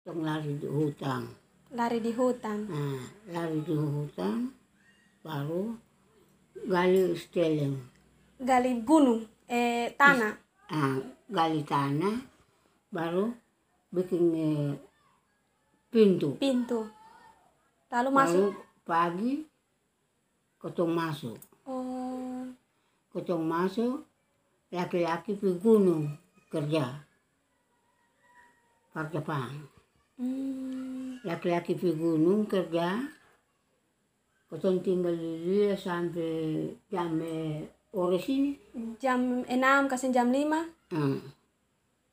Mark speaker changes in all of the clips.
Speaker 1: Tong lari di hutang.
Speaker 2: Lari di hutan.
Speaker 1: Nah, lari di hutang, baru gali steling.
Speaker 2: Gali gunung. Eh, tanah.
Speaker 1: Nah, gali tanah, baru bikin eh, pintu.
Speaker 2: Pintu. Lalu masuk.
Speaker 1: Baru pagi, ketong masuk.
Speaker 2: Oh.
Speaker 1: Ketong masuk, laki-laki pergi gunung kerja. Pak Jepang.
Speaker 2: Hmm.
Speaker 1: laki-laki pergi gunung kerja kosong tinggal di dia sampai jam eh, ore sini
Speaker 2: Jam 6 kasih jam 5.
Speaker 1: Hmm,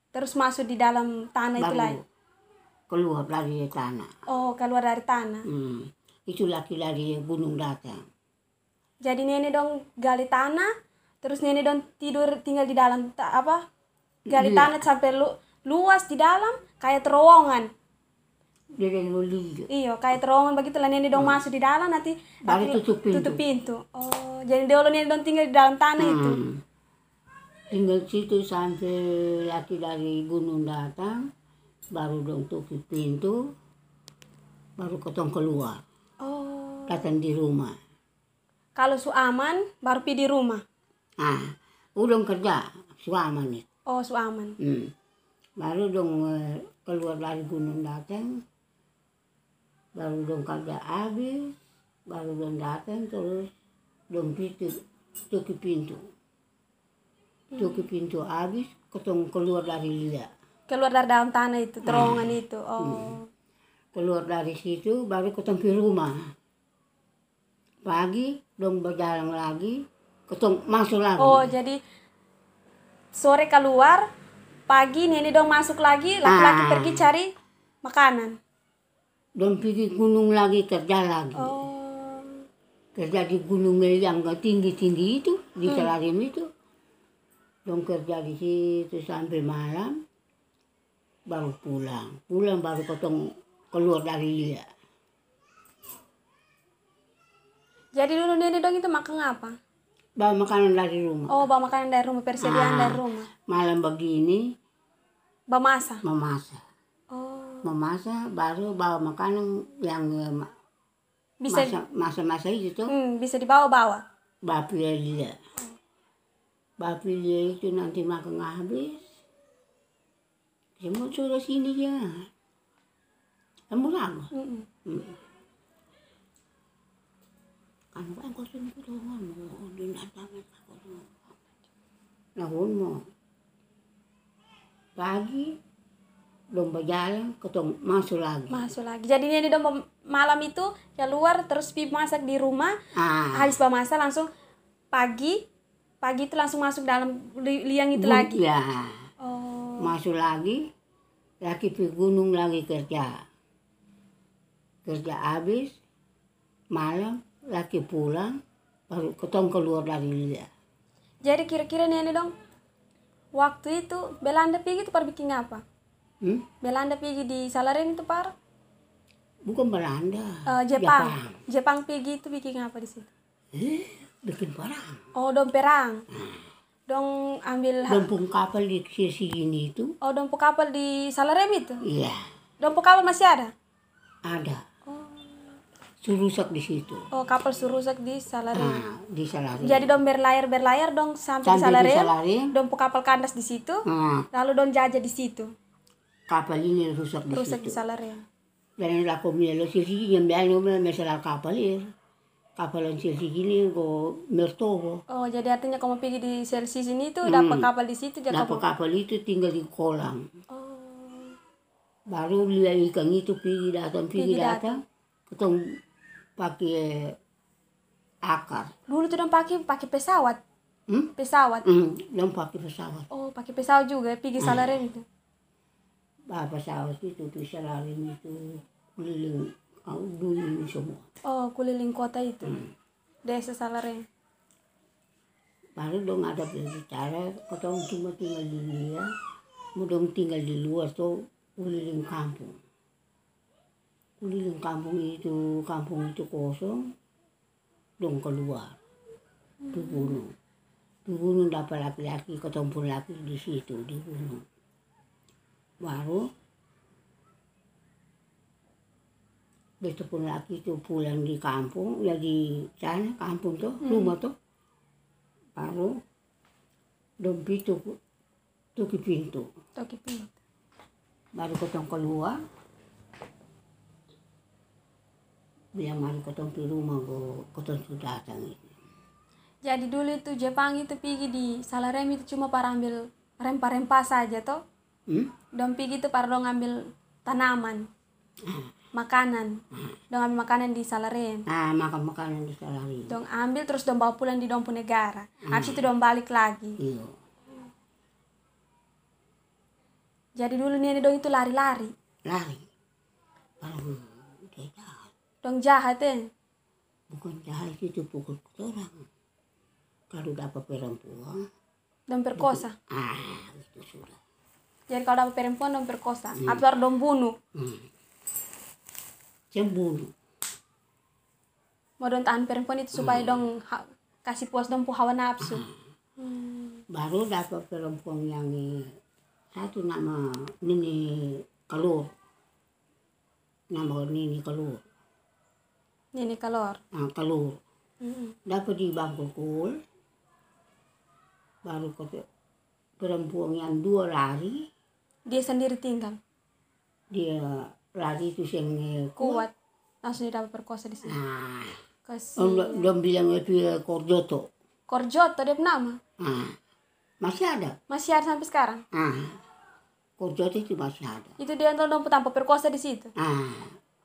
Speaker 2: Terus masuk di dalam tanah Nah, itu lagi.
Speaker 1: baru keluar dari tanah
Speaker 2: Oh, keluar dari tanah.
Speaker 1: Hmm, itu laki dari gunung datang
Speaker 2: Jadi nenek dong gali tanah, terus nenek dong tidur tinggal di dalam ta- apa? Gali
Speaker 1: Iya.
Speaker 2: tanah sampai lu, luas di dalam kayak terowongan.
Speaker 1: dia dan luli
Speaker 2: Iyo, kayak terowongan begitu lah nenek dong masuk di dalam nanti
Speaker 1: Baru
Speaker 2: akhirnya
Speaker 1: Hmm. tutup pintu.
Speaker 2: tutup pintu. Oh, jadi dulu nenek dong tinggal di dalam tanah itu.
Speaker 1: Hmm. tinggal situ sampai laki dari gunung datang baru dong tutup pintu baru kotong keluar
Speaker 2: Oh.
Speaker 1: datang di rumah
Speaker 2: Kalau su aman baru pergi di rumah.
Speaker 1: ah udang kerja suaman itu
Speaker 2: Oh, su aman.
Speaker 1: Hmm. Baru dong eh, keluar dari gunung datang, baru dong kerja habis, baru dong datang terus dong pintu, tuki pintu.
Speaker 2: Hmm.
Speaker 1: Tuki pintu habis, ketong keluar dari dia.
Speaker 2: Keluar dari dalam tanah itu, terowongan
Speaker 1: Hmm.
Speaker 2: itu. Oh.
Speaker 1: Keluar dari situ, baru ketong ke rumah. Pagi, dong berjalan lagi, ketong masuk lagi.
Speaker 2: Oh, jadi sore keluar, pagi nenek dong masuk lagi, laki-laki
Speaker 1: Ah.
Speaker 2: pergi cari makanan.
Speaker 1: Dong pergi gunung lagi, kerja lagi.
Speaker 2: Oh,
Speaker 1: kerja di gunung yang tinggi-tinggi itu, di
Speaker 2: Hmm.
Speaker 1: telarim itu. Dong kerja di situ sampai malam, baru pulang. Pulang baru potong keluar dari dia.
Speaker 2: jadi dulu nenek dong itu makan apa?
Speaker 1: Bawa makanan dari rumah.
Speaker 2: Oh, bawa makanan dari rumah,
Speaker 1: Ah.
Speaker 2: persediaan dari rumah.
Speaker 1: Malam begini,
Speaker 2: Bawa masak.
Speaker 1: memasak.
Speaker 2: Oh,
Speaker 1: Memasak, baru bawa makanan yang eh, ma-
Speaker 2: bisa
Speaker 1: masa-masa itu tuh,
Speaker 2: hmm, bisa dibawa-bawa.
Speaker 1: bapi dia. Bapi dia itu nanti makan habis, semua sudah sini ya. Kamu lama.
Speaker 2: Mm-mm.
Speaker 1: Ano ba ang gusto mo tulungan mo? O dinadamit ako mo. Nahon mo. Pagi, lumbayalan, katong maso lagi.
Speaker 2: Masuk lagi. Jadi nenek dong mem- malam itu keluar terus pi masak di rumah,
Speaker 1: Ah,
Speaker 2: habis bawa masak langsung pagi pagi itu langsung masuk dalam li- liang itu
Speaker 1: gun-
Speaker 2: lagi.
Speaker 1: Ya,
Speaker 2: Iya. Oh.
Speaker 1: maso lagi. Laki pi gunung lagi kerja. Kerja habis, malam, laki pulang, baru ketong keluar dari dia.
Speaker 2: Jadi kira-kira nenek dong waktu itu Belanda pergi itu par bikin apa?
Speaker 1: Hmm?
Speaker 2: Belanda pergi di Salarin itu par
Speaker 1: Bukan Belanda,
Speaker 2: eh, Jepang. Jepang pergi itu bikin apa di situ?
Speaker 1: Eh, bikin barang.
Speaker 2: Oh dong perang. Dong ambil ha-
Speaker 1: Lempung kapal di sisi ini itu,
Speaker 2: oh dong kapal di Salarin itu.
Speaker 1: iya
Speaker 2: Dong kapal masih ada.
Speaker 1: ada.
Speaker 2: Oh.
Speaker 1: Surusak di situ.
Speaker 2: Oh kapal surusak di Salarin.
Speaker 1: Nah, di Salari.
Speaker 2: Jadi dong berlayar berlayar dong sampai di
Speaker 1: Sampai di
Speaker 2: Salarin.
Speaker 1: Salari,
Speaker 2: Dong kapal kandas di situ.
Speaker 1: nah,
Speaker 2: Lalu dong jajah di situ.
Speaker 1: kapal ini rusak di
Speaker 2: Rusak di ya.
Speaker 1: situ.
Speaker 2: Salarin.
Speaker 1: Dan laku melo sisi yang biasa melo masalah kapal ini. Kapal yang sisi ini go mertogo.
Speaker 2: Oh jadi artinya kamu pergi di Selsi sini tuh dapat kapal di situ jadi
Speaker 1: Hmm. Dapat
Speaker 2: kamu
Speaker 1: kapal itu tinggal di kolam.
Speaker 2: Oh.
Speaker 1: Baru dia ikan itu pergi datang, pergi
Speaker 2: Pergi datang.
Speaker 1: datang. Ketong pakai akar.
Speaker 2: Dulu tuh dong pakai pakai pesawat,
Speaker 1: Hmm?
Speaker 2: pesawat.
Speaker 1: Hmm, dan pakai pesawat.
Speaker 2: Oh, pakai pesawat juga pergi Salarin gitu. itu.
Speaker 1: Bah, Ah, pesawat itu, bisa lari itu, keliling, kau dulu semua.
Speaker 2: Oh, keliling kota itu.
Speaker 1: Hmm.
Speaker 2: Desa Salarin.
Speaker 1: baru dong ada berbicara ketong cuma tinggal di dia mudong tinggal di luar tuh keliling kampung keliling kampung itu kampung itu kosong dong keluar di gunung di gunung dapat laki-laki ketemu laki di situ di gunung baru besok pun laki itu pulang di kampung ya di sana kampung tuh rumah tuh baru dong pintu tuki pintu
Speaker 2: Toki pintu.
Speaker 1: baru kotong keluar bilang mari kotong di rumah go kotong sudah datang itu
Speaker 2: Jadi dulu itu Jepang itu pergi di salah rem itu cuma para ambil rempah-rempah saja toh.
Speaker 1: hmm?
Speaker 2: Dong pergi itu para dong ambil tanaman,
Speaker 1: Hmm.
Speaker 2: makanan. Dong ambil makanan di salah rem.
Speaker 1: nah makan makanan di salari
Speaker 2: Dong ambil terus dong bawa pulang di dong punya negara.
Speaker 1: Hmm.
Speaker 2: Habis itu dong balik lagi.
Speaker 1: iya
Speaker 2: Jadi dulu nenek dong itu lari-lari.
Speaker 1: lari baru dia jahat
Speaker 2: Dong jahat eh.
Speaker 1: bukan jahat itu pukul orang kalau dapat perempuan
Speaker 2: Dong perkosa.
Speaker 1: ah itu sudah
Speaker 2: Jadi kalau dapat perempuan dong perkosa. Atau dong bunuh.
Speaker 1: cemburu
Speaker 2: Mau dong tahan perempuan itu supaya dong ha- kasih puas dong pu hawa nafsu.
Speaker 1: baru dapat perempuan yang eh, satu nama Nini Kelur nama Nini Kelur
Speaker 2: Nenek kalor.
Speaker 1: nah Kelur
Speaker 2: Mm-mm.
Speaker 1: dapat di Bangkul baru ke perempuan yang dua lari
Speaker 2: Dia sendiri tinggal.
Speaker 1: dia lari itu yang eh, kuat
Speaker 2: kuat langsung dapat perkosa di sini
Speaker 1: nah
Speaker 2: kasih
Speaker 1: dia bilang itu ya Kordoto
Speaker 2: korjoto dia punya nama
Speaker 1: nah masih ada
Speaker 2: masih ada sampai sekarang
Speaker 1: nah Kordoto itu masih ada
Speaker 2: itu dia nonton dong tanpa perkosa di situ
Speaker 1: nah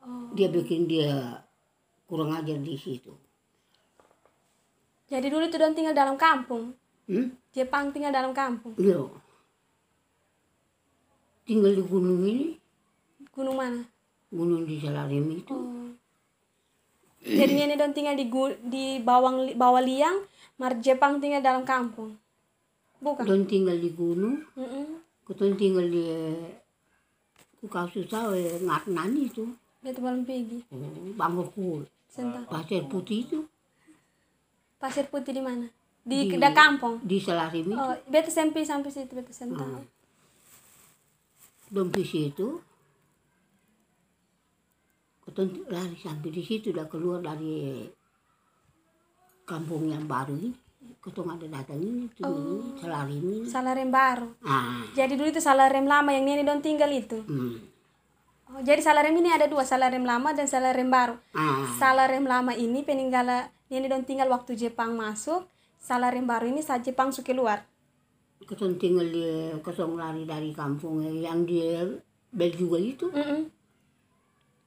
Speaker 2: oh.
Speaker 1: dia bikin dia kurang ajar di situ.
Speaker 2: jadi dulu itu dong tinggal dalam kampung
Speaker 1: Hmm?
Speaker 2: Jepang tinggal dalam kampung
Speaker 1: Iya. Tinggal di gunung ini,
Speaker 2: gunung mana
Speaker 1: gunung di Salarem itu.
Speaker 2: oh. Iya. jadi nenek dong tinggal di gu- di bawang li- bawah liang mar Jepang tinggal dalam kampung bukan
Speaker 1: Dan tinggal di gunung,
Speaker 2: Mm-mm.
Speaker 1: keton tinggal di kukau susah eh, ngarnan itu.
Speaker 2: dia tuh belum pergi
Speaker 1: Bangkul,
Speaker 2: Sentah.
Speaker 1: pasir putih itu
Speaker 2: pasir putih di mana di,
Speaker 1: Di-
Speaker 2: da kampung
Speaker 1: di Salarem itu.
Speaker 2: oh, beta sampai sampai situ beta sentah
Speaker 1: Ah. Dan di situ, keton lari sampai di situ udah keluar dari kampung yang baru ini. Keton ada datang ini, tuh ini, Salarem ini.
Speaker 2: salah rem baru
Speaker 1: Ah,
Speaker 2: Jadi dulu itu salah rem lama yang nenek don tinggal itu.
Speaker 1: hmm,
Speaker 2: Oh, jadi salah rem ini ada dua, salah rem lama dan salah rem baru.
Speaker 1: ah,
Speaker 2: Salah rem lama ini peninggalan nenek don tinggal waktu Jepang masuk, salah rem baru ini saat Jepang suke keluar.
Speaker 1: keton tinggal di keton lari dari kampung eh, yang di bel juga itu.
Speaker 2: Mm-mm.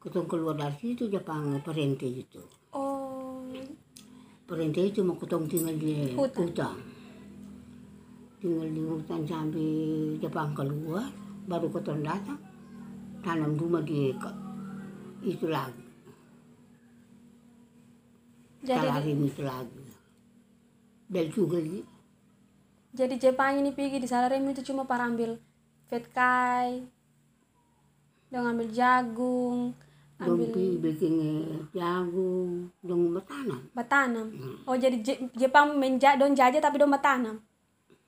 Speaker 1: Keton keluar dari situ Jepang perente itu.
Speaker 2: Oh,
Speaker 1: Perente itu mau keton tinggal di
Speaker 2: Hutan.
Speaker 1: hutan. Tinggal di hutan sampai Jepang keluar, baru keton datang tanam rumah di ke- itu lagi,
Speaker 2: jadi
Speaker 1: Salarim itu lagi. Bel juga i-
Speaker 2: jadi Jepang ini pergi di salah rem itu cuma para ambil vetkai, dong ambil jagung, ambil
Speaker 1: Dompi bikin eh, jagung, dong bertanam.
Speaker 2: batanam. Oh jadi Je- Jepang menja don jajah tapi don batanam,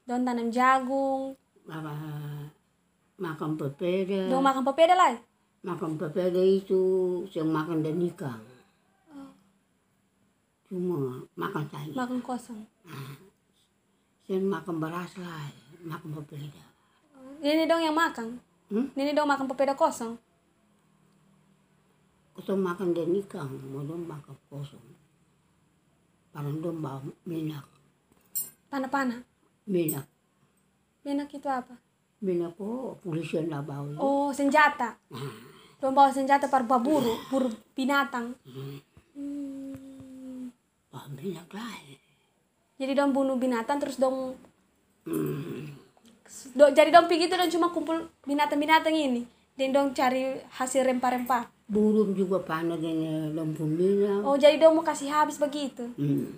Speaker 2: don tanam jagung,
Speaker 1: apa makan pepeda
Speaker 2: don makan pepeda lah.
Speaker 1: makan pepeda itu yang makan dan nikah
Speaker 2: Oh.
Speaker 1: cuma makan saya
Speaker 2: makan kosong
Speaker 1: yang makan beras lah makan pepeda
Speaker 2: nenek dong yang makan
Speaker 1: Hmm?
Speaker 2: nenek dong makan pepeda kosong
Speaker 1: kita makan dan nikah mau dong makan kosong parang dong bawa minyak
Speaker 2: panah-panah
Speaker 1: minyak
Speaker 2: enak itu apa
Speaker 1: minyak oh polisian lah bawa
Speaker 2: oh senjata dong bawa senjata par buah buru buru binatang Hmm.
Speaker 1: bawa minyak lah
Speaker 2: jadi dong bunuh binatang terus dong Do- jadi dong pergi itu dong cuma kumpul binatang-binatang ini dan dong cari hasil rempah-rempah
Speaker 1: burung juga panas dan lempun minyak
Speaker 2: oh jadi dong mau kasih habis begitu
Speaker 1: Hmm.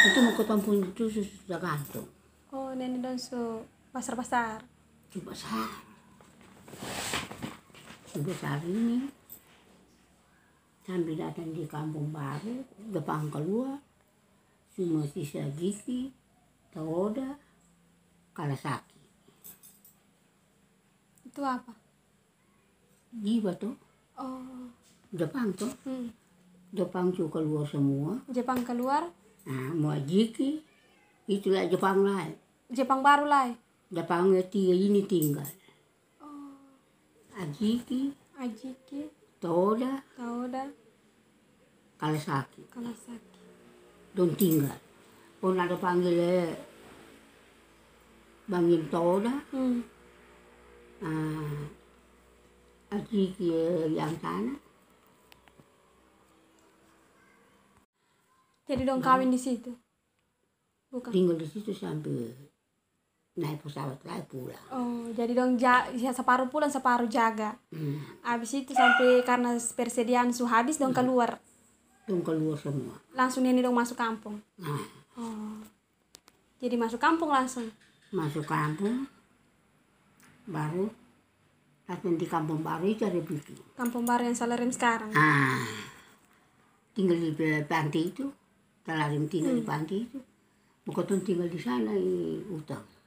Speaker 1: Itu mau ketemu itu sudah gantung.
Speaker 2: oh nenek dong su pasar-pasar
Speaker 1: Coba sar. Coba sar ini. Sambil datang di kampung baru, depan keluar. Cuma sisa gigi, taoda, kalasaki.
Speaker 2: Itu apa?
Speaker 1: jiwa tuh
Speaker 2: Oh.
Speaker 1: Jepang tuh
Speaker 2: Hmm.
Speaker 1: Jepang tuh keluar semua
Speaker 2: Jepang keluar,
Speaker 1: nah mau jiki itulah Jepang lain
Speaker 2: Jepang baru lah.
Speaker 1: Jepangnya tiga ini tinggal Ajiki
Speaker 2: Oh, Ajiki,
Speaker 1: Toda
Speaker 2: Taoda,
Speaker 1: Kalasaki
Speaker 2: Kalasaki.
Speaker 1: don tinggal pun ada panggilnya Bangin Toda
Speaker 2: Hmm.
Speaker 1: ah, Ajiki yang sana
Speaker 2: Jadi dong kawin di situ. Bukan.
Speaker 1: tinggal di situ sampai naik pesawat lagi pulang
Speaker 2: Oh, jadi dong ja ya separuh pulang separuh jaga.
Speaker 1: hmm.
Speaker 2: Habis itu sampai karena persediaan su habis dong keluar.
Speaker 1: dong keluar semua
Speaker 2: Langsung ini dong masuk kampung.
Speaker 1: nah
Speaker 2: Oh. Jadi masuk kampung langsung.
Speaker 1: masuk kampung baru datang di kampung baru itu ada bikin
Speaker 2: Kampung baru yang Salerem sekarang.
Speaker 1: ah tinggal di pe- panti itu telarim tinggal di panti itu bukan tinggal di sana i, utang